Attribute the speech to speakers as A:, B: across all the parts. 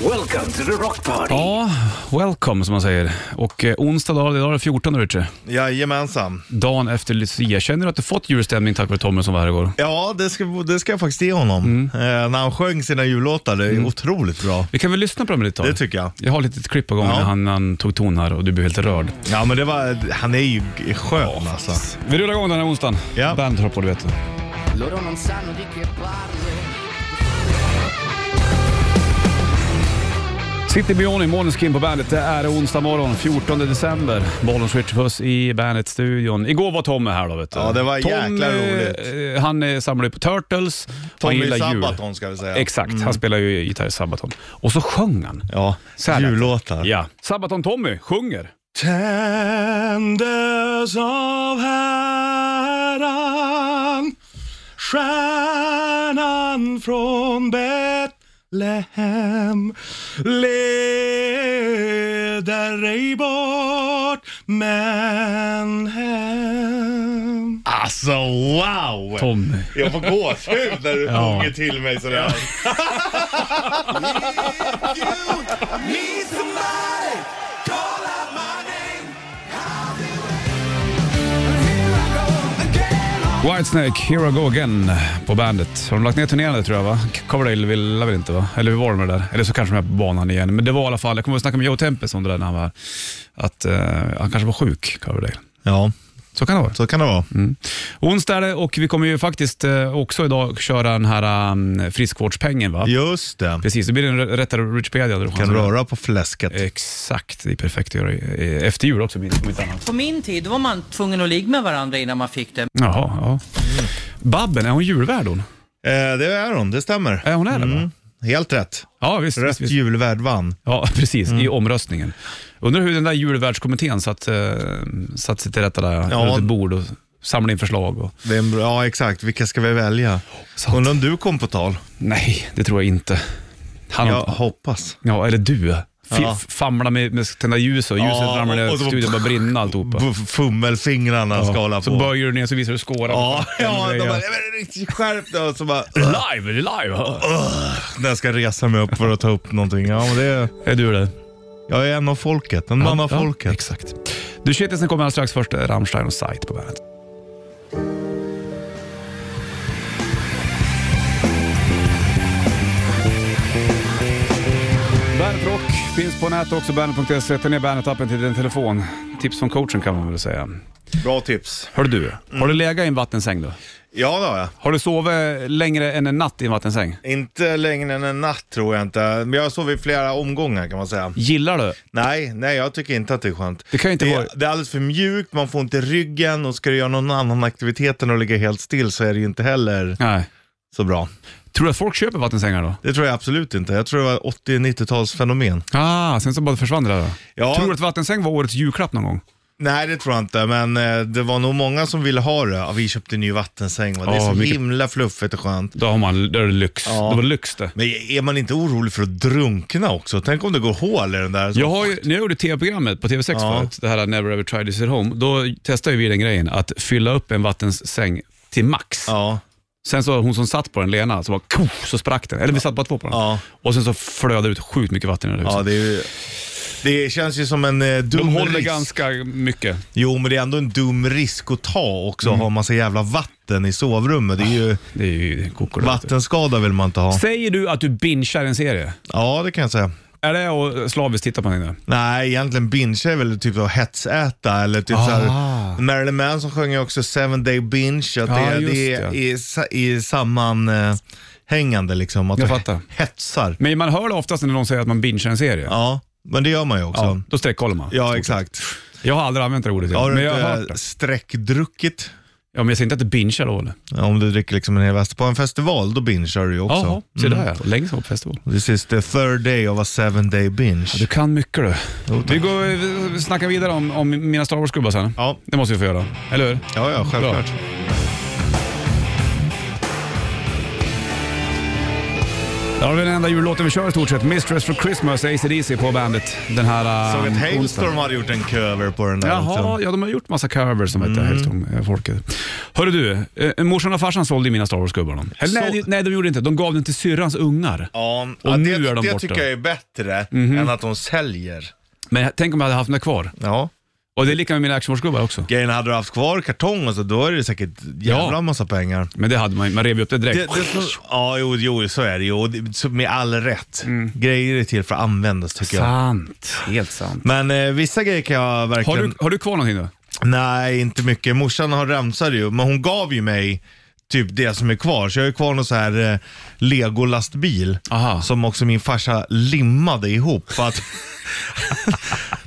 A: Welcome to the rock party.
B: Ja, welcome som man säger. Och eh, onsdag dag, idag är det 14 Richard.
C: Jajamensan.
B: Dagen efter Lucia. Känner du att du fått julstämning tack vare Tommy som var här igår?
C: Ja, det ska, det ska jag faktiskt ge honom.
B: Mm.
C: Eh, när han sjöng sina jullåtar, det är otroligt bra.
B: Vi kan väl lyssna på dem lite tag?
C: Det tycker jag.
B: Jag har ett litet klipp på gång
C: Ja.
B: när han, han tog ton här och du blev helt rörd.
C: Ja, men det var, han är ju g- skön alltså.
B: Vi rullar igång den här onsdagen.
C: Ja.
B: Bandet har på, du vet.
D: Loro non sanno di che parlo.
B: City Bionic, Måneskin på bandet. Det är onsdag morgon, 14 december. Bollens Richard Puss i Bandet-studion. Igår var Tommy här då vet du.
C: Ja, det var jäkla
B: roligt. Han eh, samlar ju på Turtles. han
C: Tommy
B: gillar jul.
C: Sabaton Mm. ska vi säga.
B: Exakt, han spelar ju gitarr i Sabaton. Och så sjöng han.
C: Ja,
B: Så här lät det.
C: jullåtar.
B: Ja. Sabaton-Tommy sjunger.
C: Tändes av Herren Stjärnan från Betlehem Leder ej bort men hem Alltså wow!
B: Tommy.
C: Jag får gåshud när du
B: Ja.
C: sjunger till mig sådär.
B: Whitesnake, Here I Go Again på bandet. Har de lagt ner turnén där tror jag va? Coverdale ville väl inte va? Eller hur var de med det där? Eller så kanske de är på banan igen. Men det var i alla fall, jag kommer att snacka med Joe Tempest om det där när han var Att eh, han kanske var sjuk, Coverdale.
C: Ja,
B: Så kan det vara.
C: så kan det vara.
B: Mm. Onsdag är det och vi kommer ju faktiskt eh, också idag köra den här um, friskvårdspengen va?
C: Just det.
B: Precis, det blir en r- rättare Richpedia. där du
C: Kan
B: chansar.
C: röra på fläsket.
B: Eh. Exakt, det är perfekt att göra eh, efter jul också om inte om inte annat.
E: På min tid var man tvungen att ligga med varandra innan man fick det.
B: Jaha, ja.
C: Mm.
B: Babben, är hon julvärd hon?
C: Eh, det är hon, det stämmer.
B: Är hon är det va?
C: Helt rätt.
B: Ja, visst.
C: Mm. Rätt
B: visst, visst.
C: julvärd vann.
B: Ja, precis. I
C: Mm.
B: omröstningen. Undrar hur den där julvärdskommittén satt, eh, satt sig till rätta där
C: Ja.
B: runt ett bord och samlade in förslag. Och...
C: Det är en bra, ja, exakt. Vilka ska vi välja?
B: Sant.
C: Undrar om du kom på tal?
B: Nej, det tror jag inte. Han,
C: Jag
B: ja.
C: hoppas.
B: ja, eller du. F-
C: Ja.
B: Famla med, med tända ljus och ljuset
C: Ja,
B: ramlar ner
C: och-
B: och
C: och så-
B: studion bara brinna alltihopa.
C: B- Fummelfingrarna ska hålla
B: Ja. Så
C: på.
B: böjer du ner så visar du skåran.
C: ja, ja, de
B: Ja.
C: bara, "Nej, men skärp dig och så bara, "Ugh,
B: Live, är det live?
C: när jag ska resa mig upp för att ta upp någonting. Ja, men det är,
B: Är du det?
C: jag är en av folket, en man av
B: Ja,
C: folket.
B: Exakt. Du, Shitlisten kommer alldeles strax. Först är Rammstein och Sight på bandet. Bandet Rock finns på nätet också, bandet.se. Ta ner bandet-appen till din telefon. Tips från coachen kan man väl säga.
C: Bra tips.
B: Hör du, har du legat i en vattensäng då?
C: Ja, det har jag.
B: Har du sovit längre än en natt i en vattensäng?
C: Inte längre än en natt tror jag inte, men jag har sovit i flera omgångar kan man säga.
B: Gillar du?
C: Nej, nej jag tycker inte att det är skönt.
B: Det kan ju inte
C: det,
B: vara-
C: det är alldeles för mjukt, man får inte ryggen och ska du göra någon annan aktivitet än att ligga helt still så är det ju inte heller
B: Nej.
C: så bra.
B: Tror du att folk köper vattensängar då?
C: Det tror jag absolut inte. Jag tror det var 80-90-talsfenomen.
B: Ah, sen så bara försvann det där då.
C: Ja.
B: Tror du att vattensäng var årets julklapp någon gång?
C: Nej, det tror jag inte, men eh, det var nog många som ville ha det. Ja, vi köpte en ny vattensäng, va? det är
B: Ja,
C: så
B: vilket-
C: himla fluffigt och skönt.
B: Då har man, då är det lyx.
C: Ja.
B: Det var lyx det.
C: Men är man inte orolig för att drunkna också? Tänk om det går hål i den där. Så...
B: Jag har ju, när jag gjorde tv-programmet på TV6
C: Ja.
B: förut, det här Never Ever Try This At Home, då testade vi den grejen att fylla upp en vattensäng till max.
C: Ja,
B: Sen så hon som satt på den, Lena, så, bara, "Kof!" så sprack den. Eller vi satt bara två på den.
C: Ja.
B: Och sen så flödade det ut sjukt mycket vatten i det
C: ja
B: huset.
C: det, är ju... det känns ju som en eh, dum
B: De håller
C: risk.
B: ganska mycket.
C: Jo, men det är ändå en dum risk att ta också, att ha massa jävla vatten i sovrummet. Det är ju...
B: Det är ju det är kokor.
C: Vattenskada vill man inte ha.
B: Säger du att du bingear en serie?
C: Ja, det kan jag säga.
B: Är det att slaviskt titta på den? nu?
C: Nej, egentligen binge är väl typ att hetsäta eller typ
B: Ah.
C: såhär. Marilyn Manson sjöng ju också Seven Day Binge, att
B: Ja,
C: det,
B: just
C: det
B: det.
C: är i, sa- i sammanhängande liksom. Att
B: Jag
C: du
B: fattar.
C: hetsar.
B: Men man hör det oftast när någon säger att man bingear en serie.
C: Ja, men det gör man ju också.
B: Ja,
C: Ja,
B: då sträckkollar man.
C: exakt.
B: Jag har aldrig använt det ordet.
C: Har
B: men
C: du
B: jag har hört
C: inte
B: det.
C: sträckdruckit?
B: Ja, men jag säger inte att det bingear då eller?
C: Ja, Om du dricker liksom en hel väst på en festival, då bingear du ju också. Mm.
B: Jaha, Mm. se där ja. Länge som på festival.
C: This is the third day of a seven day binge.
B: Du kan mycket du.
C: Jo, tack.
B: Vi går vi snackar vidare om, om mina Star Wars-gubbar sen.
C: Ja.
B: Det måste vi få göra, eller hur?
C: Ja, ja, självklart.
B: Bra. Det var den enda jullåten vi kör i stort sett. Mistress for Christmas, AC/DC på bandet den här um,
C: Såg att
B: onsdagen.
C: Hailstorm hade gjort en cover på den där. liksom. också.
B: Mm. Jaha, ja de har gjort massa covers som heter Hellström-folket. eh, Hörru du, eh, morsan och farsan sålde ju mina Star Wars-gubbar. de. Eller Nej,
C: Så-
B: det- nej, de gjorde inte. De gav den till syrrans ungar.
C: Ja, ja,
B: nu
C: det,
B: är de
C: det
B: borta. Mhm.
C: tycker jag är bättre än att de säljer.
B: Men tänk om jag hade haft den kvar.
C: Ja.
B: Och det är lika med mina actionwars-gubbar också.
C: Grejen hade du haft kvar kartong och så, då är det säkert jävla
B: Ja.
C: massa pengar.
B: Men det hade man ju. Man rev ju upp det direkt.
C: Det, det, som- ja, jo, jo, så är det ju. Och det- så Med all rätt. Grejer är till för att användas tycker jag.
B: Mm. Sant. Helt sant.
C: Men eh, vissa grejer kan jag
B: Har
C: verkligen...
B: du, har du kvar någonting då?
C: Nej, inte mycket. Morsan har ramsade ju, men hon gav ju mig typ det som är kvar. Så jag har ju kvar någon så här eh, legolastbil
B: Aha.
C: som också min farsa limmade ihop. För att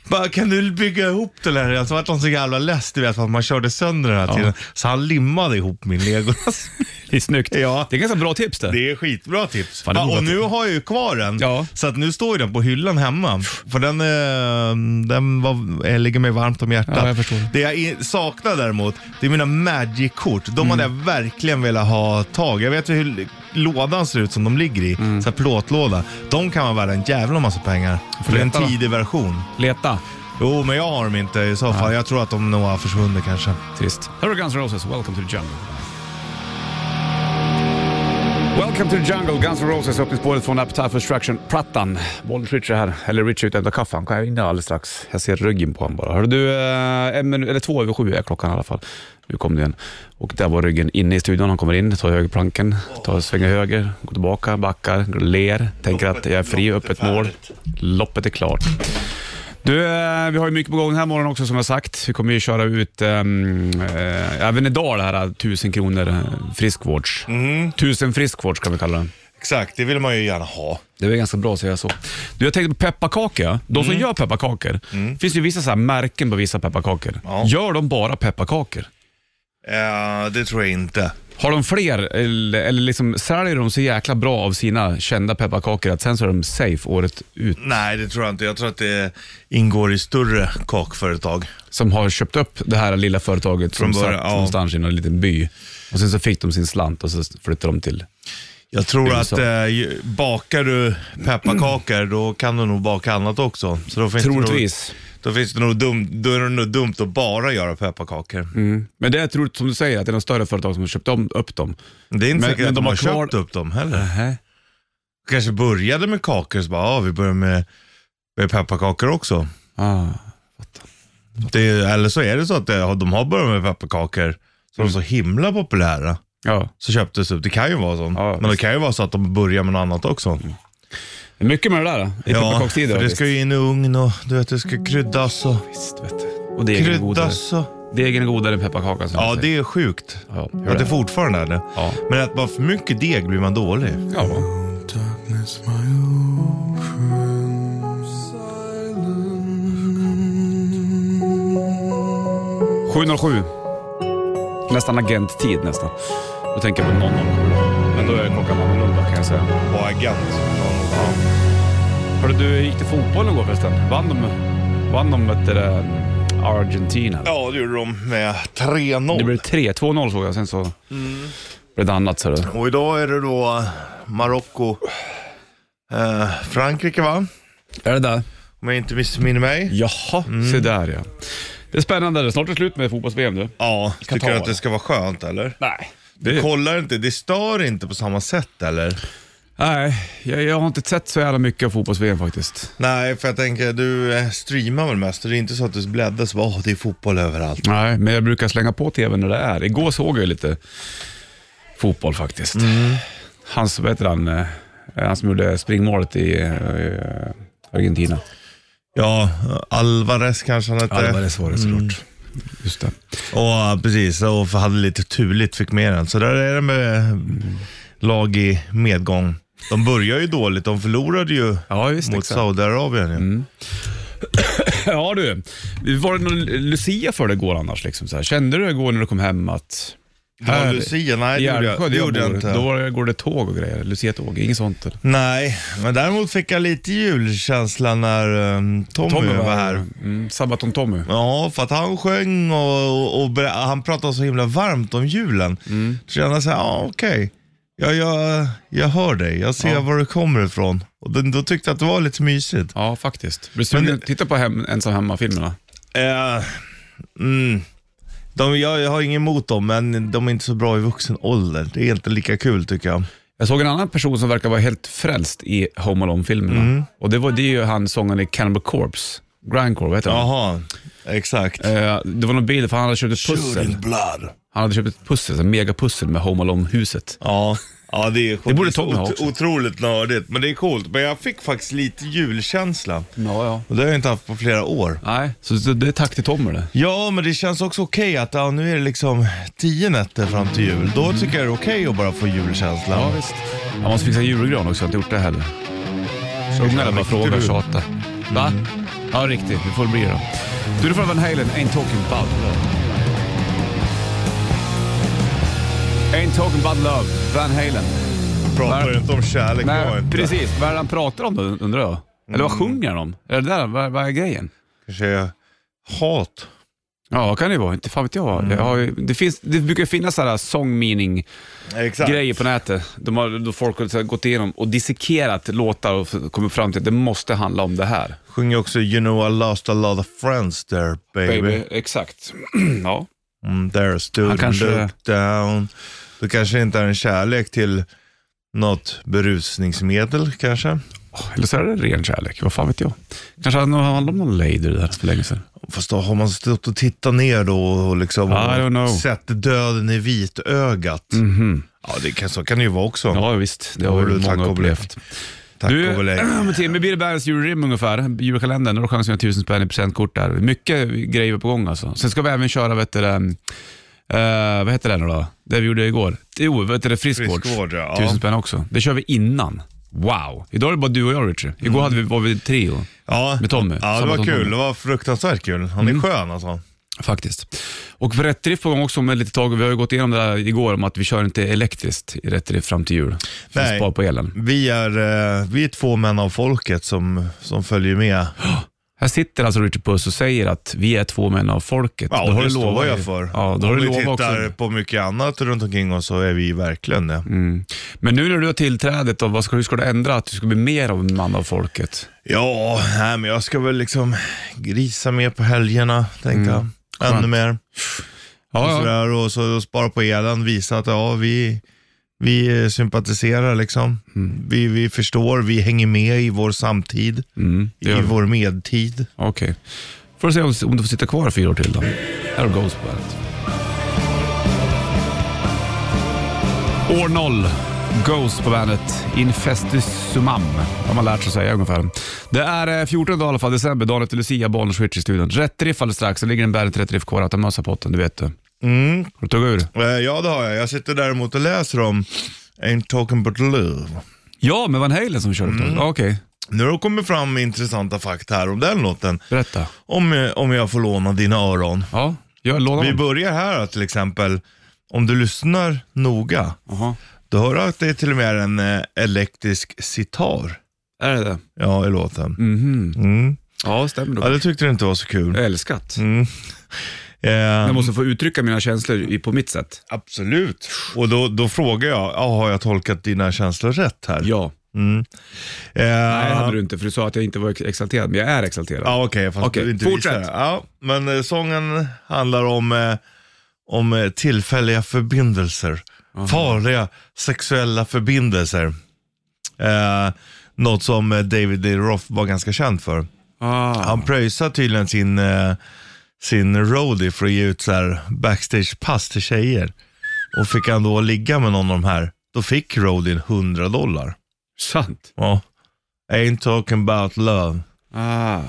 C: Bara, kan du vara ihop den här? Alltså vart han så jävla less du vet, för att man körde sönder den här
B: Ja.
C: tiden. Så han limmade ihop min legolastbil.
B: Det är snyggt.
C: Ja.
B: Det är ganska bra tips det.
C: Det är skitbra tips.
B: Fan, det
C: Ja,
B: borde
C: och
B: vara-
C: nu har jag ju kvar den,
B: Ja.
C: så att nu står ju den på hyllan hemma. För den, eh, den var, eh, ligger mig varmt om hjärtat.
B: Ja, jag förstår.
C: Det jag i- saknar däremot, det är mina Magic-kort. De hade jag
B: Mm.
C: verkligen velat ha tag i. Jag vet ju hur l- lådan ser ut som de ligger i,
B: Mm.
C: så här plåtlåda. De kan vara värda en jävla massa pengar. För det är en
B: leta, va?
C: tidig version.
B: Leta.
C: Jo, men jag har dem inte i så fall. Jag tror att de nog har försvunnit kanske.
B: Trist. Här har Guns N' Roses, Welcome to the Jungle. Welcome to the Jungle, Guns N' Roses, öppningsspåret från Appetite for Destruction-plattan. Bollen Richie här, eller Richie utan kaffan. Kan jag in alldeles strax? Jag ser ryggen på honom bara. Hörru du, eh, en minut, eller två över sju är klockan i alla fall. Nu kom det igen. Och där var ryggen inne i studion. Han kommer in, tar högerplanken, tar, svänger höger, går tillbaka, backar, ler, tänker att jag är fri, öppet mål. Loppet är klart. Du, eh, vi har ju mycket på gång den här morgonen också som jag sagt. Vi kommer ju köra ut ehm, eh, även idag det här 1000 kronor eh, friskvårds. 1000 friskvårds kan vi kalla den.
C: Exakt, det vill man ju gärna ha.
B: Det är väl ganska bra att säga så. Mm. Du, jag tänkte på pepparkakor. De som gör pepparkakor, finns det ju vissa så här märken på vissa pepparkakor.
C: Ja.
B: Gör de bara pepparkakor?
C: Eh, det tror jag inte.
B: Har de fler, eller, eller liksom, säljer de så jäkla bra av sina kända pepparkakor att sen så är de safe året ut?
C: Nej, det tror jag inte. Jag tror att det ingår i större kakföretag.
B: som har köpt upp det här lilla företaget
C: Från
B: som
C: början,
B: satt
C: ja.
B: någonstans i någon liten by. Och Sen så fick de sin slant och så flyttade de till...
C: Jag tror
B: Det är
C: att
B: så.
C: eh, ju- bakar du pepparkakor, då kan du nog baka annat också. Så då finns
B: Troligtvis.
C: Det nog, då, finns det nog dumt, då är det nog dumt att bara göra pepparkakor.
B: Men det är troligt, som du säger, att det är de större företag som har köpt om, upp dem.
C: Det är inte
B: Men-
C: säkert
B: men
C: att
B: de
C: de har
B: har kvar-
C: köpt upp dem heller. kanske började med kakor, så bara, ja, vi börjar med, med pepparkakor också.
B: Ah.
C: Det, är- eller så är det så att det, de har börjat med pepparkakor, så de är så
B: Mm.
C: himla populära.
B: Ja.
C: Så köptes upp. Det kan ju vara så.
B: Ja,
C: Men det
B: visst.
C: kan ju vara så att de börjar med något annat också.
B: Det är mycket med det där i
C: Ja,
B: pepparkakstider.
C: för det ska ju in i ugn och du vet, det ska kryddas och
B: Visst, vet du. Och degen är godare.
C: kryddas och...
B: Degen är godare än pepparkakan. som
C: Ja,
B: du säger.
C: det är sjukt.
B: Ja, hur
C: Att
B: är
C: det
B: det?
C: fortfarande är det.
B: Ja.
C: Men att man för mycket deg blir man dålig.
B: Ja. ...7.07. Nästan agenttid nästan. Då tänker jag på 00. Men då är klockan annorlunda kan jag säga.
C: Och agent.
B: Hörru du, hur gick det fotboll igår förresten? Vann de, vann de vet du, det, Argentina?
C: Ja, det gjorde de med 3-0.
B: Det blev 3, 2-0 såg jag. Sen så blev det annat. Så det.
C: Och idag är det då eh, Marocko, eh, Frankrike va?
B: Är det där?
C: Om jag inte missminner mig.
B: Jaha, se där ja. Det är spännande. Snart är det slut med fotbolls-VM du.
C: Ja, tycker du
B: Qatar.
C: att det ska vara skönt eller?
B: Nej.
C: Du kollar inte, det stör inte på samma sätt eller?
B: Nej, jag, jag har inte sett så jävla mycket av fotbolls-VM faktiskt.
C: Nej, för jag tänker du eh, streamar väl mest? och Det är inte så att du bläddrar så bara, "Åh, det är fotboll överallt.
B: Nej, men jag brukar slänga på tvn när det är. Igår såg jag lite fotboll faktiskt. Hans, vad heter han, eh, han som gjorde springmålet i eh, Argentina.
C: Ja, Alvarez kanske han hette.
B: var det såklart. Mm. Just det.
C: Och ja, precis, och för hade lite turligt fick med den. Så där är det med lag i medgång. De börjar ju dåligt, de förlorade ju
B: Ja, visst.
C: mot
B: exakt.
C: Saudiarabien. ju.
B: Ja du, var det någon Lucia för dig igår annars? Liksom, så här? Kände du igår när du kom hem att...
C: Det var Lucia, nej det
B: i
C: gjorde
B: Älvsjö, där
C: jag, det gjorde jag
B: bor,
C: inte.
B: Då var det- går det tåg och grejer, Lucia-tåg, inget sånt. Eller?
C: Nej, men däremot fick jag lite julkänsla när um, Tommy, var här.
B: Mm, Sabaton-Tommy.
C: Ja, för att han sjöng och, och, och ber- han pratade så himla varmt om julen. Så kände jag såhär, ja okej. Jag, jag, jag hör dig, jag ser var du kommer ifrån. Och då, då tyckte jag att det var lite mysigt.
B: Ja, faktiskt. Blir du sugen
C: Men
B: att titta på hem, Ensam Hemma-filmerna?
C: Eh, mm. De, jag, jag har ingen emot dem, men de är inte så bra i vuxen ålder. Det är inte lika kul tycker jag.
B: Jag såg en annan person som verkar vara helt frälst i Home Alone-filmerna. Och det, var, det är ju han sångaren i Cannibal Corpse, Grindcore, vad heter han?
C: Jaha, exakt.
B: Eh, det var någon bild för han hade köpt ett pussel.
C: Shooting blood.
B: Han hade köpt ett pussel, ett megapussel med Home Alone-huset.
C: Ja. Ja, det är
B: Det borde
C: sjukt.
B: Tommy ha
C: Ot-
B: också.
C: Otroligt nördigt, men det är coolt. Men jag fick faktiskt lite julkänsla.
B: Ja, ja.
C: Och det har jag inte haft på flera år.
B: Nej, så det, det är tack till Tommy det.
C: Ja, men det känns också okej att ja, nu är det liksom tio nätter fram till jul. Då tycker jag det är okej att bara få julkänslan.
B: Ja, visst. Jag måste fixa julgran också, jag har inte gjort det heller. Så ungarna bara frågar och tjatar. Va? Ja, riktigt. Det får det bli då. Du, du får Van Halen, Ain't Talking About Love. Ain't Talking About Love, Van Halen.
C: Pratar
B: Nej.
C: inte om kärlek då
B: Nej,
C: inte.
B: precis. Vad är det han pratar om då, undrar jag? Eller vad sjunger han om? Är det där, vad, vad är grejen?
C: Kanske är hat.
B: Ja, kan det ju vara. Inte fan vet jag. jag har ju, det, finns, det brukar ju finnas sådana här song meaning
C: Exakt.
B: grejer på nätet. De har, då folk har så här gått igenom och dissekerat låtar och f- kommit fram till att det måste handla om det här.
C: Sjunger också You know I lost a lot of friends there baby.
B: Exakt. ja.
C: Mm, there stood
B: Han kanske-
C: and looked down. Det kanske inte är en kärlek till något berusningsmedel kanske.
B: Eller så är det ren kärlek, vad fan vet jag. Kanske hade det handlat om någon lady det där för länge sedan.
C: Fast då har man stått och tittat ner då och liksom
B: I don't know.
C: sett döden i vitögat.
B: Mhm.
C: Ja, det kan, så kan det ju vara också.
B: Ja, visst. Det har
C: Har
B: ju
C: du tack
B: många
C: och belägg.
B: upplevt.
C: Tack och
B: Du,
C: belägg.
B: men Timmy, blir det Bärens julrim ungefär? Julkalendern, då har du chansen att göra tusen spänn i presentkort där. Mycket grejer på gång alltså. Sen ska vi även köra, vet du, det, eh, vad heter det nu då? Det vi gjorde igår. Jo, vet du, det, friskvård.
C: Friskvård, ja.
B: Tusen spänn också. Det kör vi innan. Wow! Idag är det bara du och jag Richard. Igår
C: Mm.
B: hade vi, var vi trio,
C: Ja,
B: Med Tommy.
C: ja det
B: Samma
C: var
B: som
C: kul.
B: Tommy. Mm.
C: Det var fruktansvärt kul. Han är skön alltså.
B: faktiskt. Och för rätt drift på gång också om ett litet tag. Vi har ju gått igenom det där igår om att vi kör inte elektriskt i rätt drift fram till jul. För att
C: Nej.
B: spara på elen.
C: Vi är, eh, vi är två män av folket som, som följer med.
B: Här sitter alltså Richard Puss och säger att vi är två män av folket.
C: Ja,
B: Då
C: och
B: har
C: det
B: du
C: står
B: lovat
C: jag
B: ju.
C: för.
B: Ja, då har du
C: Om vi
B: lovat
C: tittar
B: också. Mm.
C: på mycket annat runt omkring oss så är vi verkligen det.
B: Men nu när du har tillträdet, då, vad ska, hur ska du ändra att du ska bli mer av en man av folket?
C: Ja, nej, men jag ska väl liksom grisa mer på helgerna, tänker
B: Mm.
C: jag. Ännu mer. Och,
B: Ja, ja.
C: sådär, och så och spara på elen, visa att ja, vi, vi eh, sympatiserar liksom. Vi, vi förstår, vi hänger med i vår samtid,
B: Mm, det gör
C: i
B: vi.
C: vår medtid.
B: Okej. Får du se om, om du får sitta kvar fyra år till då. Här har du Ghost på bandet. År noll. Ghost på bandet. Infestisumam har man lärt sig säga ungefär. Det är eh, 14 dagar i alla fall, december, dagen efter Lucia, Bollnäs Switch i studion. Rätt riff alldeles strax, det ligger en Bandet Rätt Riff kvar att ta mössa på potten, du vet du.
C: Mm.
B: Har du tuggat ur?
C: Eh, Ja, det har jag. Jag sitter däremot och läser om Ain't talking about love.
B: Ja, med Van Halen som körde mm. Okej,
C: Nu har det kommit fram intressanta fakta här om den låten.
B: berätta.
C: Om, eh, om jag får låna dina öron.
B: Ja, jag lånar
C: Vi
B: dem.
C: börjar här då, till exempel. Om du lyssnar noga,
B: Jaha.
C: då hör du att det är till och med en eh, elektrisk sitar
B: Är det det?
C: ja, i låten.
B: Mhm.
C: Mm.
B: Ja, stämmer
C: Ja,
B: nog.
C: det tyckte du inte var så kul.
B: Jag älskat.
C: Mm.
B: Jag
C: Eh,
B: måste få uttrycka mina känslor i- på mitt sätt.
C: absolut. Och då, då frågar jag, ja, har jag tolkat dina känslor rätt här?
B: Ja.
C: Mm. Eh,
B: Nej, det hade du inte, för du sa att jag inte var ex- exalterad, men jag är exalterad.
C: Ja, okej, fast
B: Okej,
C: du inte
B: fortsätt.
C: visar det. Ja, men eh, sången handlar om, eh, om eh, tillfälliga förbindelser. Farliga sexuella förbindelser. Eh, något som eh, David Lee Roth var ganska känd för.
B: Ah.
C: Han pröjsar tydligen sin, eh, sin roadie för att ge ut så här backstagepass till tjejer. Och fick han då ligga med någon av de här, då fick roadien 100 dollar.
B: Sant.
C: Ja. Ain't talking about love.
B: Ah.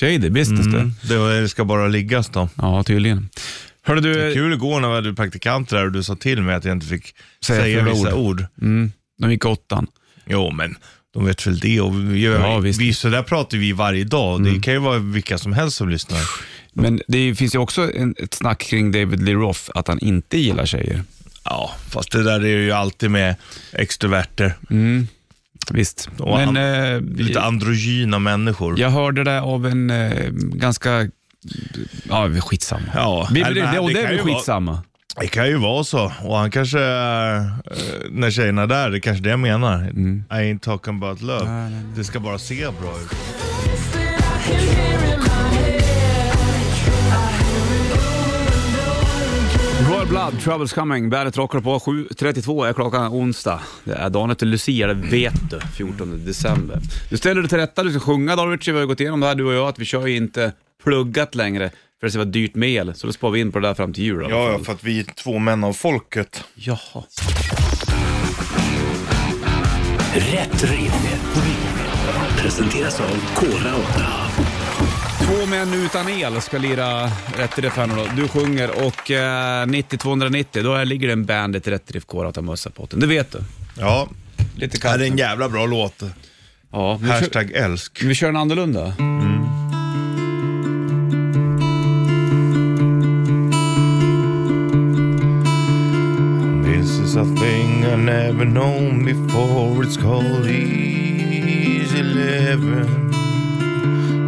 B: Shady business
C: Mm.
B: det.
C: Det var- det ska bara liggas då.
B: Ja, tydligen. Hörde du,
C: Kul igår när vi hade praktikanter där och du sa till mig att jag inte fick
B: Säga
C: säga,
B: fula
C: vissa ord.
B: mm, de gick åttan.
C: Jo, men de vet väl det. Och vi,
B: Ja, visst.
C: vi, så där pratar vi varje dag. Det kan ju vara vilka som helst som lyssnar.
B: Men det är- finns ju också en, ett snack kring David Lee Roth, att han inte gillar tjejer.
C: Ja, fast det där är ju alltid med extroverter.
B: Visst.
C: Och han-
B: men, eh,
C: Lite androgyna människor.
B: Jag hörde det av en eh, ganska... Ja, vi är skitsamma.
C: Ja.
B: Vi,
C: Nej,
B: det,
C: men
B: det, och
C: det
B: det är
C: kan
B: vi
C: ju vara-
B: skitsamma.
C: Det kan ju vara så. Och han kanske, är, eh, när tjejerna är där, det är kanske det jag menar.
B: Mm.
C: I ain't talking about love. Det ska bara se bra ut.
B: Royal Blood, Troubles Coming. Bandet rockar på 7.32 är klockan onsdag. Det är dagen efter Lucia, det vet du. 14 december. Du ställer dig till rätta, du ska sjunga David Ritchie. Vi har ju gått igenom det här du och jag, att vi kör ju inte pluggat längre för det ska vara dyrt med el. Så då spar vi in på det där fram till jul i alla
C: Ja, ja,
B: fall.
C: för att vi är två män av folket.
B: Jaha.
A: Rätt riff. Presenteras av Kora 8.
B: Två män utan el ska lira Rätt Riff här nu då. Du sjunger och eh, 90-290, då här ligger det en Bandet Rätt Riff Kåra att ta mössa på den. Det vet du.
C: Ja,
B: Lite
C: det
B: kallt.
C: är en jävla bra låt.
B: Ja, men vi kör-
C: Hashtag älsk.
B: Vi kör en annorlunda.
C: This is a thing I never known before. It's called easy living.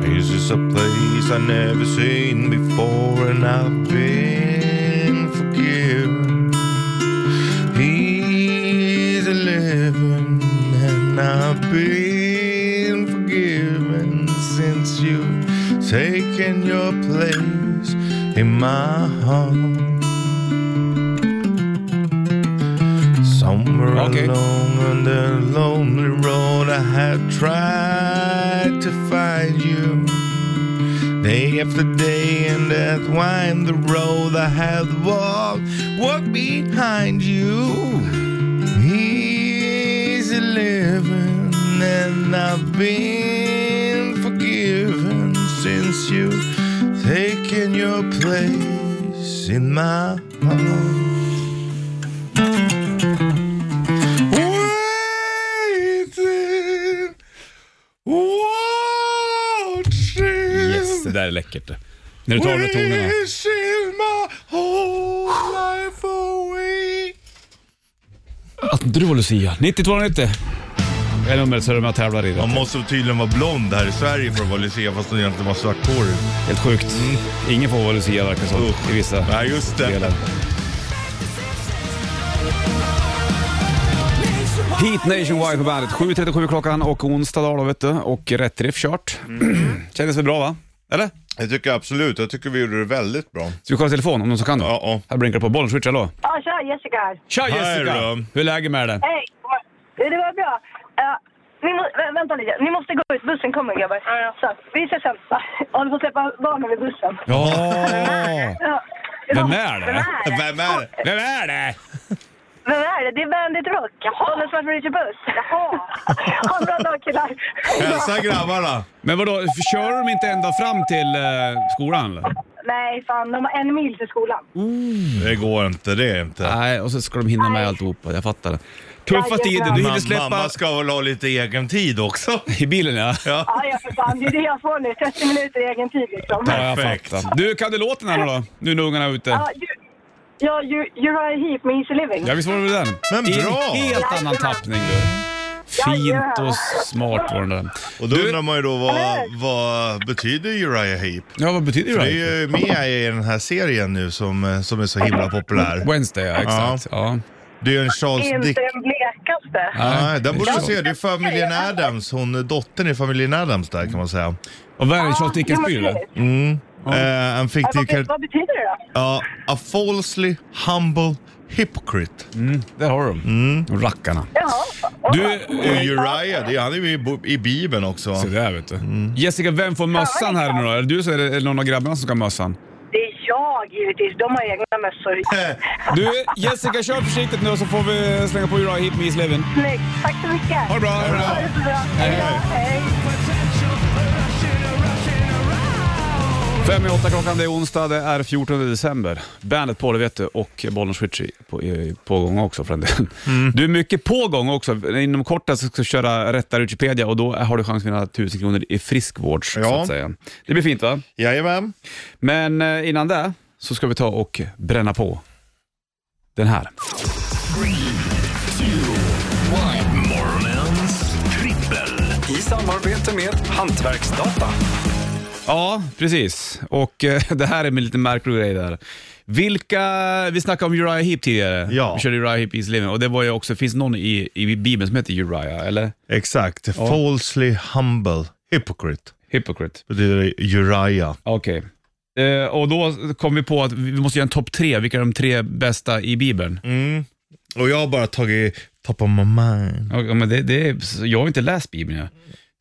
C: This is a place I never seen before, and I've been forgiven. Easy living, and I've been forgiven since you've taken your place in my heart. Somewhere
B: Okay.
C: along on the lonely road, I had tried to find you. Day after day, and that wind the road I had walked, walked behind you. Easy living, and I've been forgiven since you taken your place in my heart. waiting, watching,
B: Yes, det där är läckert. När du tar de där tonerna.
C: wishing my whole life away.
B: Att du var Lucia. 9290. Det är numret så är det med att tävlar i.
C: Man
B: Det.
C: måste tydligen vara blond här i Sverige för att vara Lucia fast hon egentligen var svarthårig.
B: Helt sjukt. Ingen får vara Lucia verkar som.
C: Usch.
B: I vissa
C: Nej, just
B: delar.
C: det.
B: Heat Nationwide på bandet. 7.37 klockan och onsdag dag då vet du. Och rätt riff kört. Kändes väl bra va? Eller?
C: Jag tycker absolut, jag tycker vi gjorde det väldigt bra.
B: Ska vi kolla telefon om någon som kan då?
C: Ja, ja.
B: Här blinkar det på bollen. Switch, hallå.
F: Ja, tja Jessica här.
B: Tja
C: Hej
B: Jessica!
C: då.
B: Hur är läget med dig?
F: Hej! Det det var bra. Eh, ni må, vä- vänta lite, ni måste gå ut. Bussen kommer grabbar. Så, vi ses sen. Va? Ja, ni får släppa barnen vid bussen.
B: Ja!
F: Ja.
B: Vem är det?
F: Vem är det?
C: Vem är
B: Vem är
C: det?
B: det?
F: Vem är det? Det är Bandit Rock. Jaha! Anders Svart Richard Buss. Jaha! ha en bra dag killar.
C: Hälsa grabbarna.
B: Men vadå, kör de inte ända fram till eh, skolan eller?
F: Nej, fan. De har en mil till skolan.
C: Det går inte, det är inte.
B: Nej, och så ska de hinna med alltihopa. Jag fattar det. Tuffa
F: Jajamän.
B: tider. Du hinner
C: Mam-
B: släppa...
C: Mamma ska väl ha lite egen tid också.
B: I bilen ja.
F: Ja, ja för fan. Det är det jag får nu. 30 minuter i egen tid liksom.
B: Ja, jag
C: Perfekt.
B: fattar. Du, kan du låten här nu då? Nu när ungarna är ute.
F: Ja, ju, ja ju, Uriah Heep med Easy Living.
B: Ja, visst var det väl den?
C: Men
B: I
C: bra!
B: en helt annan
F: Jajamän.
B: tappning du. Fint
F: Jajamän.
B: och smart var den där.
C: Och då
B: Du-
C: undrar man ju då vad,
F: Eller?
C: vad betyder Uriah Heep?
B: Ja, vad betyder
C: Det är ju med i den här serien nu som, eh, som är så himla populär.
B: Wednesday, ja exakt. Ja.
C: Det är ju en Charles Dick...
F: Inte den blekaste.
C: Nej, där borde du
B: exakt.
C: se. Det är familjen Adams. Hon, dottern i familjen Adams där kan man säga.
B: Och vad är det? Charles Dickens-by
F: Ja,
B: eller?
C: Mm. Eh, en
F: men
C: fiktiv
F: precis. Vad,
C: karaktär.
F: vad betyder det då?
C: Ja, a falsely humble hypocrite.
B: Där har de. Mm. Rackarna.
F: Jaha.
B: Du,
C: Och Uriah, det är, han är ju i, bo- i Bibeln också.
B: Så där vet du.
C: Mm.
B: Jessica, vem får mössan här nu då? Är det du som- är det är det någon av grabbarna som ska ha mössan?
F: Det är jag givetvis. De har egna mössor.
B: Du, Jessica kör försiktigt nu så får vi slänga på Uriah Heep med East Living.
F: Snyggt. Tack så mycket.
B: Ha det bra! Ha det bra.
F: Ha det så bra. Hej då. Hej.
B: Fem i åtta klockan, det är onsdag, det är 14 december. Bandet på, det vet du, och Bollnäs Ritchie på, i- pågång också för en del. Du är mycket pågång också. Inom kort här så ska du köra rätta Wikipedia och då har du chans att vinna 1000 kronor i friskvårds, så
C: Ja.
B: att säga. Det blir fint va?
C: Jajamän.
B: Men eh, innan det så ska vi ta och bränna på den här.
A: Morgonens trippel. I samarbete med Hantverksdata.
B: Ja, precis. Och eh, det här är en lite märklig grej där. Vilka, vi snackade om Uriah Heep tidigare.
C: Ja.
B: Vi körde Uriah Heep Is Living och det var ju också, finns någon i, i Bibeln som heter Uriah, eller?
C: Exakt. Falsely humble hypocrite
B: Hypocrite.
C: betyder Uriah.
B: Okej. Eh, och då kom vi på att vi måste göra en topp tre, vilka är de tre bästa i Bibeln?
C: Och jag har bara tagit top of my mind.
B: Ja, men det, det är, jag har ju inte läst Bibeln jag.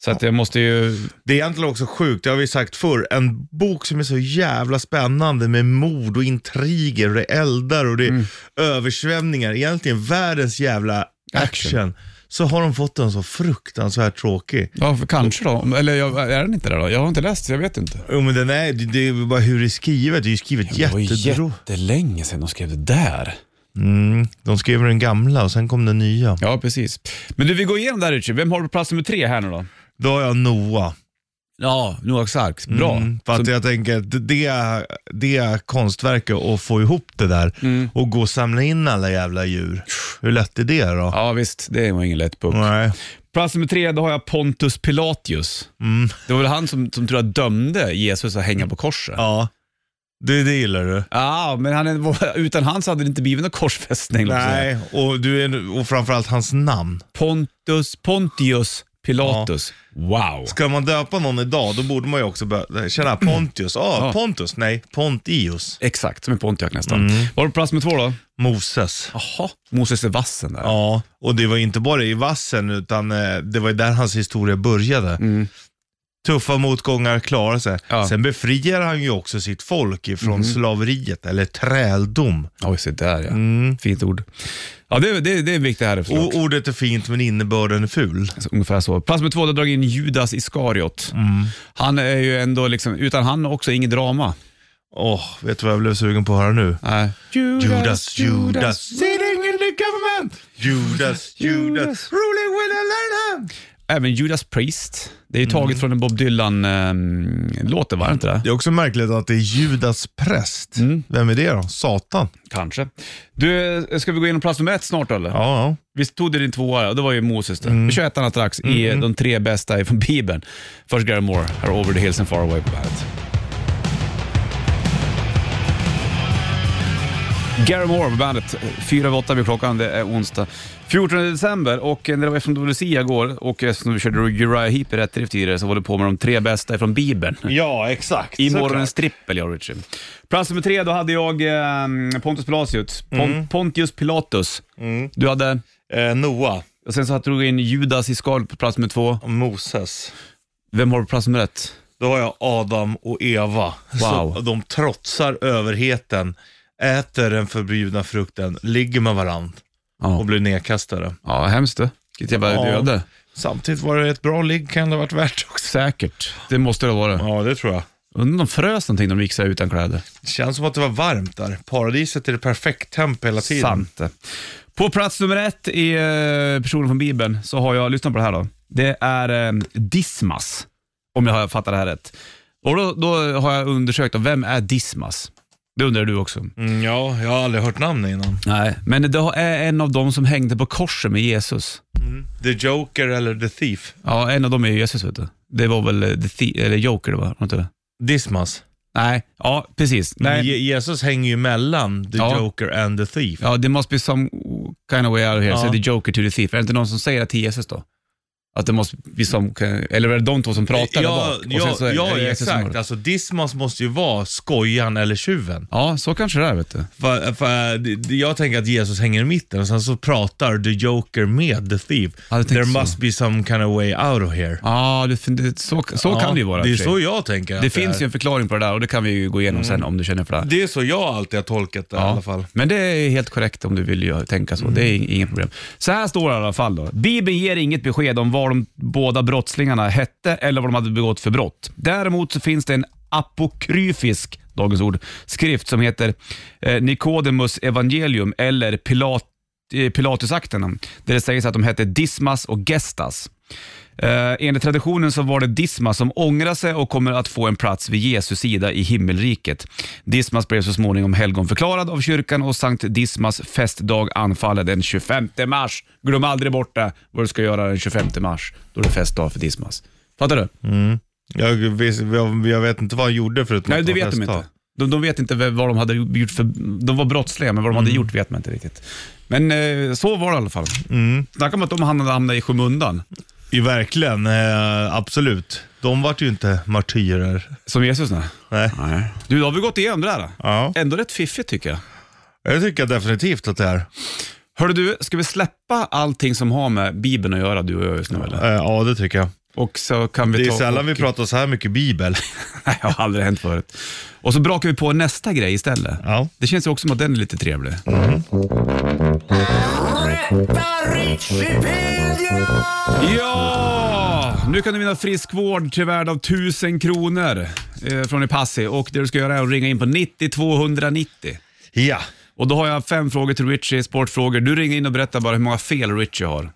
B: Så att jag måste ju...
C: Det är egentligen också sjukt, det har vi sagt förr, en bok som är så jävla spännande med mord och intriger och det är eldar och det är översvämningar, egentligen världens jävla action.
B: Action.
C: Så har de fått den så fruktansvärt tråkig.
B: Ja, för kanske då. Eller jag, är den inte det då? Jag har inte läst, så jag vet inte.
C: Jo men den är, det, det är bara hur det är skrivet, det är ju skrivet jättedro.
B: jättelänge sedan de skrev det där.
C: Mm, de skrev den gamla och sen kom den nya.
B: Ja, precis. Men du, vi går igenom där Richie. Vem har du på plats nummer tre här nu då?
C: Då har jag Noah.
B: Ja, Noaks ark. Bra.
C: Mm, för att jag tänker att det, det konstverket och få ihop det där och gå och samla in alla jävla djur. Hur lätt är det då?
B: Ja, visst. Det var ingen lätt puck.
C: Nej.
B: Plats nummer tre, då har jag Pontus Pilatius. Det var väl han som, som tror jag dömde Jesus att hänga på korset. Ja,
C: Ja, det, det gillar du.
B: men han, utan han så hade det inte blivit någon korsfästning. låt oss säga.
C: Nej, och, du är, och framförallt hans namn.
B: Pontus, Pontius Pilatus. Wow.
C: Ska man döpa någon idag, då borde man ju också börja känna Pontius. Ah,
B: Ja.
C: Pontus, nej, Pontius.
B: Exakt, som en Pontiac nästan.
C: Mm.
B: Var du på plats med två då?
C: Moses.
B: Jaha, Moses är vassen där.
C: Ja, och det var inte bara i vassen utan eh, det var ju där hans historia började. Tuffa motgångar, klara sig.
B: Mm. Ja. Mm.
C: Sen befriar han ju också sitt folk ifrån slaveriet, eller träldom.
B: Oj, se där ja.
C: Mm.
B: Fint ord. Ja, det, det, det är viktigt här förstås.
C: Och ordet är fint men innebörden är ful.
B: Alltså, Ungefär så. Plats med två, då drar jag in Judas Iskariot.
C: Mm.
B: Han är ju ändå liksom, utan han också inget drama.
C: Åh, vet du vad jag blev sugen på att höra nu?
B: Nej.
C: Judas, Judas, sitting in the government! Judas, Judas,
B: Judas.
C: ruling with a learn hand!
B: Även Judas Priest. Det är
C: Mm.
B: ju taget från en Bob Dylan-låt, var det inte det?
C: Det är också märkligt att det är Judas präst. Vem är det då? Satan?
B: Kanske. Du, ska vi gå igenom plats nummer ett snart eller?
C: Ja, ja.
B: Vi tog det din tvåa, och det var ju Moses det. Vi kör ettan strax i de tre bästa från Bibeln. Först Gary Moore, här Over the Hills and Far Away på bandet. Gary Moore på bandet. Fyra över åtta blir klockan, det är onsdag 14 december och eh, när det var eftersom det var Lucia igår och eftersom vi körde Uriah Heep i rätt drift tidigare så var du på med de tre bästa från Bibeln.
C: Ja, exakt.
B: I morgonens trippel, ja Richie. Plats nummer tre, då hade jag eh, Pontus Pilatius. Pon-
C: Mm.
B: Pontius Pilatus. Du hade?
C: Eh, Noah,
B: Och sen så drog jag in Judas i skal på plats nummer två.
C: Moses.
B: Vem har du på plats nummer ett?
C: Då har jag Adam och Eva.
B: Wow.
C: Så de trotsar överheten, äter den förbjudna frukten, ligger med varandra
B: Ja.
C: och blir nedkastade.
B: Ja, hemskt det. Vilket jävla
C: Ja.
B: öde.
C: Samtidigt var det ett bra ligg, kan det ha varit värt också.
B: Säkert. Det måste det vara.
C: Ja, det tror jag.
B: Undrar om de frös någonting när de gick så här utan kläder.
C: Det känns som att det var varmt där. Paradiset är det perfekt temp hela tiden.
B: Sant det. På plats nummer ett i eh, personen från Bibeln så har jag, lyssna på det här då. Det är eh, Dismas, om jag har fattat det här rätt. Och då, då har jag undersökt, då, vem är Dismas? Det undrar du också.
C: Mm, ja, jag har aldrig hört namnet innan.
B: Nej, men det är en av dem som hängde på korset med Jesus.
C: The Joker eller The Thief?
B: Ja, en av dem är ju Jesus vet du. Det var väl eh, the Thie- eller Joker det var, var det inte det?
C: Dismas.
B: Nej, ja precis.
C: Men
B: Nej.
C: Je- Jesus hänger ju mellan The
B: Ja.
C: Joker and The Thief.
B: Ja, det måste be some kind of way out here,
C: Ja.
B: ja. the Joker to the thief. Är det inte någon som säger det till Jesus då? Att det måste be some kind, eller är det de två som pratar där
C: Ja,
B: bak? Och sen
C: ja,
B: så är det
C: ja
B: Jesus som har
C: exakt.
B: det.
C: Alltså Dismas måste ju vara skojan eller tjuven.
B: Ja, så kanske det är vet du.
C: För, för, det- det- jag tänker att Jesus hänger i mitten och sen så pratar The Joker med The Thief.
B: Ja, jag tänkte
C: There
B: så.
C: must be some kind of way out of here.
B: Ja, det, fin- det, så, så
C: Ja,
B: kan det ju vara.
C: Det är
B: i och för sig.
C: så jag Mm. tänker. att
B: det finns
C: är.
B: ju en förklaring på det där och det kan vi ju gå igenom sen om du känner för det.
C: Det är så jag alltid har tolkat det i alla fall. Mm.
B: Men det är helt korrekt om du vill ju tänka så. Det är ing- inget problem. Så här står det i alla fall då. Bibeln ger inget besked om vad de båda brottslingarna hette eller vad de hade begått för brott. Däremot så finns det en apokryfisk, dagens ord, skrift som heter eh, Nikodemus evangelium eller Pilat, eh, Pilatusakterna. Där det sägs att de hette Dismas och Gestas. Eh, enligt traditionen så var det Dismas som ångrar sig och kommer att få en plats vid Jesu sida i himmelriket. Dismas blev så småningom helgonförklarad av kyrkan och Sankt Dismas festdag anfaller den 25 mars. Glöm aldrig bort det, vad du ska göra den 25 mars. Då är det festdag för Dismas. Fattar du?
C: Jag, vis- jag, jag vet inte vad han gjorde förutom
B: Nej,
C: att
B: det
C: han
B: vet de
C: festade.
B: inte. De, de vet inte vad de hade gjort för... De var brottsliga, men vad de hade gjort vet man inte riktigt. Men eh, så var det i alla fall. Snacka om att de hamnade, hamnade i skymundan.
C: Ja, verkligen. Eh, absolut. De vart ju inte martyrer.
B: Som Jesus nej.
C: Nej.
B: nej. Du, då har vi gått igenom det här.
C: Ja.
B: Ändå rätt fiffigt tycker jag.
C: Jag tycker definitivt att det är.
B: Hörru du, ska vi släppa allting som har med Bibeln att göra du och jag just nu eller?
C: Eh, Ja, det tycker jag.
B: Och så kan vi
C: Det är
B: ta
C: sällan
B: och...
C: vi pratar så här mycket bibel.
B: Nej, det har aldrig hänt förut. Och så brakar vi på nästa grej istället.
C: Ja.
B: Det känns ju också som att den är lite trevlig. Ja! Nu kan du vinna friskvård till värde av 1000 kronor eh, från Ipassi och det du ska göra är att ringa in på 90 290.
C: Ja.
B: Och då har jag fem frågor till Richie, sportfrågor. Du ringer in och berättar bara hur många fel Richie har.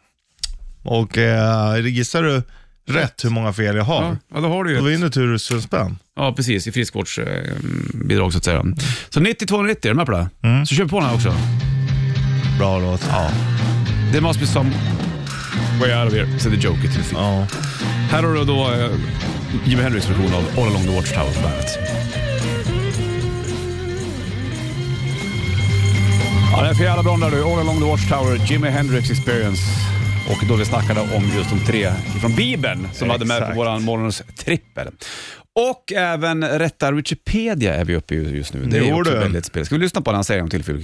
C: Och eh, gissar du rätt hur många fel jag har,
B: Ja, ja då har du
C: då
B: ju. ett-
C: vinner tusen spänn.
B: Ja, precis. I friskvårdsbidrag så att säga. Så 90 290, är du med på det? Så kör vi på den här också.
C: Bra låt. Ja.
B: Det must be some way out of here, said the Joker till film.
C: ja.
B: Här har du då eh, Jimi Hendrix version av All along the Watchtower på bandet. Ja, det är för jävla bra där du. All along the Watchtower, Jimi Hendrix experience. Och då vi snackade om just de tre från Bibeln som vi hade med på
C: Exakt.
B: våran morgonens trippel. Och även rätta Wikipedia är vi uppe i just nu. Det är
C: Jo,
B: också
C: du.
B: väldigt spel. Ska vi lyssna på den han säger om tillfället?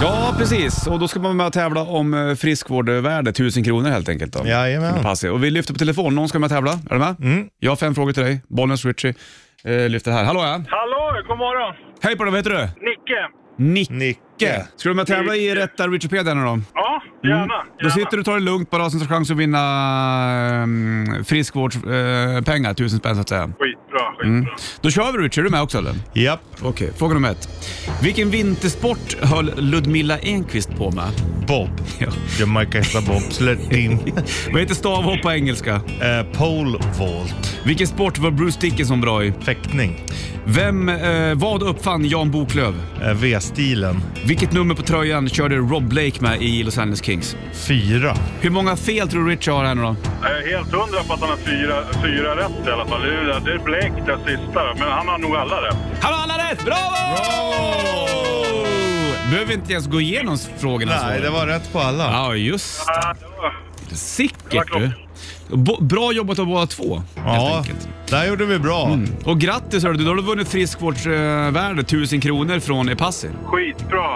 B: Ja, precis. Och då ska man vara med och tävla om eh, friskvårdvärde, 1000 kronor helt enkelt. Då.
C: Jajamän. Mm.
B: För Passi. Och vi lyfter på telefon. Någon ska med och tävla. Är du med? Jag har fem frågor till dig. Bollens Richie eh, lyfter här. Hallå ja.
G: Hallå, god morgon.
B: Hej på dig, vad heter du?
G: Nicke.
B: Nicke.
C: Nicke.
B: Ska du med och tävla i rätta Wikipedia nu då? Mm.
G: Ja, gärna.
B: Då sitter du och tar det lugnt bara, sen så har du chans att vinna um, friskvårdspengar, eh, tusen spänn så att säga.
G: Skitbra, skitbra.
B: Då kör vi Richie, är du med också eller?
C: Japp.
B: Okej, fråga nummer ett. Vilken vintersport höll Ludmilla Enqvist på med?
C: Bob.
B: Ja.
C: Jamaica heter Bob. Slätting.
B: Vad heter stavhopp på engelska?
C: eh, pole vault.
B: Vilken sport var Bruce Dickinson bra i?
C: Fäktning.
B: Vem, eh, vad uppfann Jan Boklöv?
C: Eh, V-stilen.
B: Vilket nummer på tröjan körde Rob Blake med i Los Angeles Kings?
C: Fyra.
B: Hur många fel tror du Richie har här nu då?
G: Jag är helt hundra på att han har fyra, fyra rätt i alla fall. Det är, det är Blake där sista, men han har nog alla rätt.
B: Han har alla rätt! Bravo! Behöver inte ens gå igenom frågorna
C: Nej,
B: så.
C: det var rätt på alla.
B: Ja, just
G: Ah, det var-
B: det. Sickert du. Bo- Bra jobbat av båda två, helt
C: Ja,
B: enkelt. Mm.
C: där gjorde vi bra.
B: Och grattis hörru du, då har du vunnit friskvårdsvärde 1000 kronor från Epassi.
G: Skitbra.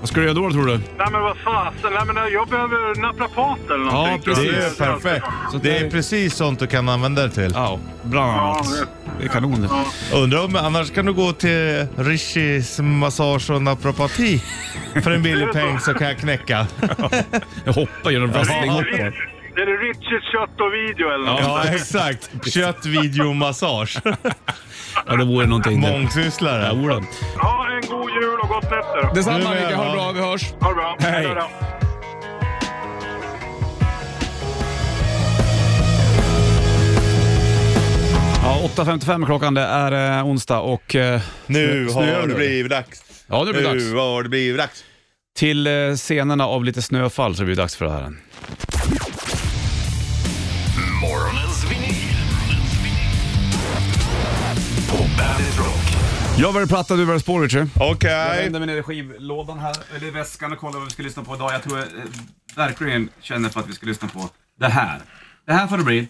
B: Vad ska du göra då tror du?
G: Nej men vad fasen, Nej, men jag behöver naprapat eller någonting.
B: Ja,
G: tror jag.
C: Det
B: precis.
C: är perfekt.
B: Så
C: Det
B: där-
C: är precis sånt du kan använda det till.
B: Ja, bland annat. Det är kanon det.
C: Undrar om, annars kan du gå till Rishis massage och naprapati. För en billig peng så kan jag knäcka.
B: Jag hoppar genom
G: Det
B: wrestlinghoppar.
G: är- Det är Richard kött och video eller något.
C: Ja, exakt. Kött, video, massage.
B: Ja, det vore någonting. det. Ja,
C: Mångsysslare.
B: vore det.
G: Ja, en god jul och gott nätter. då.
C: Du
B: Detsamma
C: är med,
B: Micke, ha det
C: va?
B: bra, vi hörs.
G: Ha det bra.
B: Hej.
G: då, då.
B: Ja, 8.55 klockan, det är eh, onsdag och... eh,
C: Nu
B: snö-
C: har
B: snöar
C: det blivit dags.
B: Ja, nu blir det
C: Nu
B: dags.
C: har det blivit dags.
B: Till eh, scenerna av lite snöfall så blir det dags för det här.
A: Morgonens vinyl. På Bandit Rock.
B: Jag var platta, du var spår Richard. Jag
C: Okej.
B: vänder mig ner i skivlådan här, eller i väskan och kollar vad vi ska lyssna på idag. Jag tror jag eh, verkligen känner för att vi ska lyssna på det här. Det här får det bli.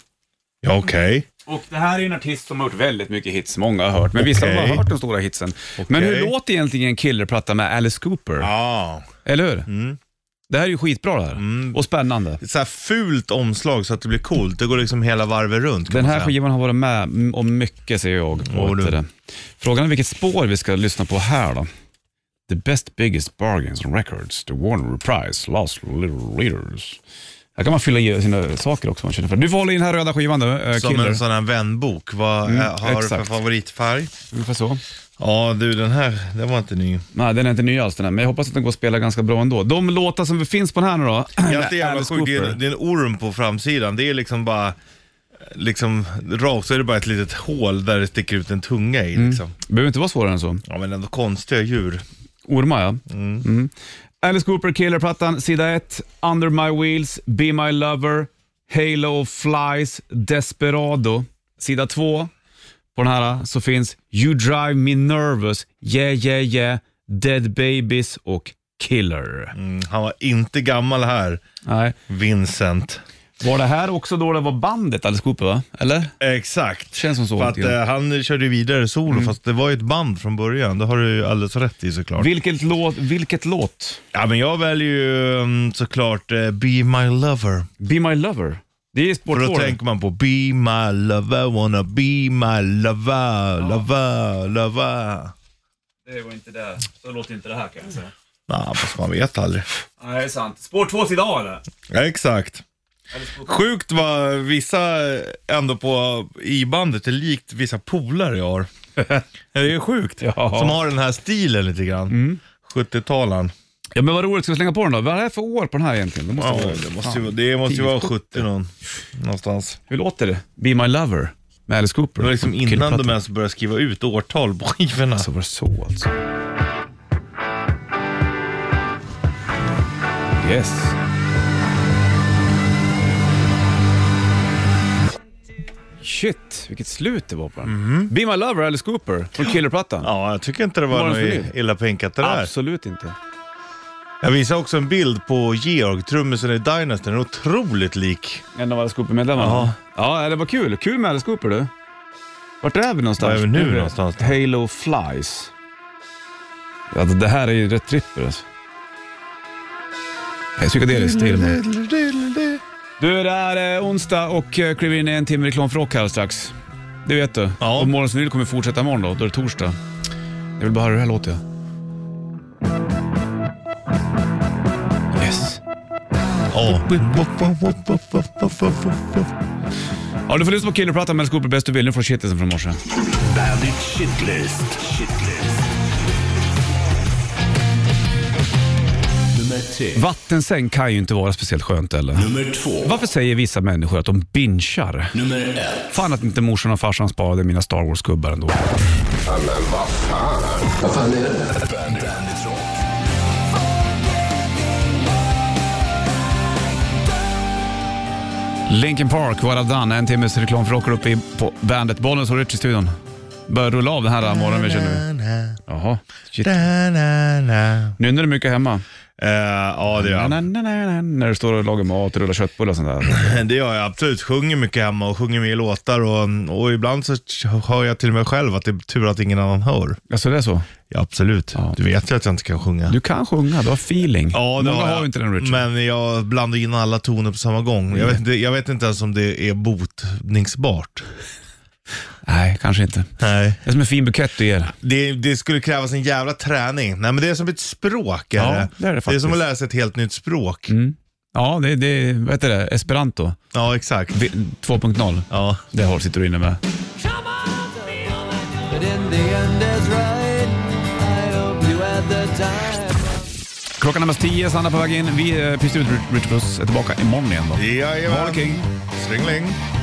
C: Ja, Okej.
B: Och det här är en artist som har gjort väldigt mycket hits, många har hört, men vissa har bara
C: Okej.
B: hört de stora hitsen. Men hur låter egentligen en killerplatta med Alice Cooper?
C: Ja. Mm.
B: Eller hur? Det här är ju skitbra det här. Och spännande.
C: Så här fult omslag så att det blir coolt. Det går liksom hela varvet runt. kan
B: Den
C: man
B: här
C: säga.
B: skivan har varit med m- om mycket ser jag.
C: Åh,
B: Och
C: du.
B: det. Frågan är vilket spår vi ska lyssna på här då. The best biggest bargains and records, the Warner Reprise, Lost Little Readers. Här kan man fylla i sina saker också om man känner för. Du får hålla i den här röda skivan nu, eh,
C: Som
B: Killer.
C: en sån här vänbok. Vad
B: Mm,
C: eh, har du för
B: exakt.
C: favoritfärg?
B: Ungefär så.
C: Ja du, den här, den var inte ny.
B: Nej, den är inte ny alls den här, men jag hoppas att den går att spela ganska bra ändå. De låtar som finns på den här nu då.
C: Ja, det är jävla
B: Alice
C: sjukt. Det, är
B: Cooper.
C: en- det är en orm på framsidan. Det är liksom bara, liksom rakt så är det bara ett litet hål där det sticker ut en tunga i
B: Mm.
C: liksom.
B: Behöver inte vara svårare än så.
C: Ja men ändå konstiga djur.
B: Ormar ja. Mm. Alice Cooper, Killerplattan, sida 1, Under My Wheels, Be My Lover, Halo of Flies, Desperado. Sida 2, på den här så finns You Drive Me Nervous, Yeah Yeah Yeah, Dead Babies och Killer.
C: Mm, han var inte gammal här,
B: Nej.
C: Vincent.
B: Var det här också då det var bandet Alice Cooper va? Eller?
C: Exakt.
B: Känns som så
C: För att
B: lite grann.
C: eh, han körde ju vidare solo,
B: Mm.
C: fast det var ju ett band från början. Det har du ju alldeles rätt i såklart.
B: Vilket låt, vilket låt?
C: Ja, men jag väljer ju mm, såklart eh, Be My Lover.
B: Be My Lover. Det är spår
C: För då
B: två.
C: tänker man på Be My Lover, wanna be my lover, lover, lover.
B: Det var inte det. Så låter inte det här kan jag säga.
C: Nej, fast man vet aldrig.
B: Nej, det är sant. Spår två sida A eller?
C: Ja, exakt. Sjukt vad vissa ändå på i bandet är likt vissa polare jag har. Det är ju sjukt.
B: Ja.
C: Som har den här stilen lite grann. 70-talaren.
B: Ja men vad roligt, ska vi slänga på den då? Vad är det för år på den här egentligen? Det måste
C: Ja,
B: vara...
C: det måste ju, det måste ju vara 70 någon, någonstans.
B: Hur låter det? Be My Lover med Alice Cooper.
C: Det var liksom innan
B: Killplatta.
C: de ens började skriva ut årtal på skivorna.
B: Så var det så alltså. Yes. Shit, vilket slut det var på den. Be My Lover, Alice Cooper från Killerplattan.
C: Mhm. Ja, jag tycker inte det var,
B: Var det för
C: något
B: det?
C: illa pinkat det där.
B: Absolut inte.
C: Jag visar också en bild på Georg, trummisen i Dynasty. Den är otroligt lik.
B: En av Alice Cooper-medlemmarna. Ja. ja, det var kul. Kul med Alice Cooper du. Vart är vi någonstans?
C: Var är vi nu någonstans?
B: Halo Flies. Ja, det här är ju rätt tripper alltså. Det är psykedeliskt till och med. Du, det är eh, onsdag och eh, kliver in i en timme reklamfråga här snart. Det vet du.
C: Ja.
B: Och Morgonsnyl kommer fortsätta imorgon då. Då är det torsdag. Jag vill bara höra hur det här låter. Yes.
C: Ja.
B: Ja, du får lyssna på Killerplattan med Skopor bäst du vill. Nu får du shitlisten från morse.
A: Bandit Shitlist. Shitlist. Nummer tre.
B: Vattensäng kan ju inte vara speciellt skönt eller?
A: Nummer två.
B: Varför säger vissa människor att de bingear?
A: Nummer ett.
B: Fan att inte morsan och farsan sparade mina Star Wars-gubbar ändå.
A: Bandit, Bandit Rock.
B: Linkin Park, What I've Done. En timmes reklam för rockar uppe i, på bandet. Bollnäs och Rich i studion. Börjar rulla av den här morgonen vi känner nu. Jaha, shit. Nynnar du mycket hemma?
C: Eh, Ja, det gör
B: Na,
C: jag.
B: na, na, na, na, när du står och lagar mat och rullar köttbullar och sånt där.
C: Det gör jag absolut. Sjunger mycket hemma och sjunger med i låtar. Och, och ibland så hör jag till mig själv att det är tur att ingen annan hör.
B: Alltså det är så?
C: Ja, absolut.
B: Ja.
C: Du vet ju att jag inte kan sjunga.
B: Du kan sjunga, du har feeling.
C: Ja, det
B: Många
C: har
B: har
C: jag.
B: ju inte den Richard. Mm.
C: Men jag blandar in alla toner på samma gång. Jag vet, inte- jag vet inte ens om det är botningsbart.
B: Nej, kanske inte.
C: Nej.
B: Det är som en fin bukett du ger.
C: Det, det skulle krävas en jävla träning. Nej men det är som ett språk. Är
B: Ja,
C: det.
B: det är det faktiskt. Mm.
C: som att lära sig ett helt nytt språk.
B: Ja, det är, vad heter det, esperanto.
C: Ja, exakt.
B: Vi- 2.0.
C: Ja.
B: Det har sitter du inne med. Klockan närmast tio, Sanna på väg in. Vi eh, pyser ut Richard Puss är tillbaka imorgon igen då.
C: Jajamän.
B: Ha det king.
C: Stringling.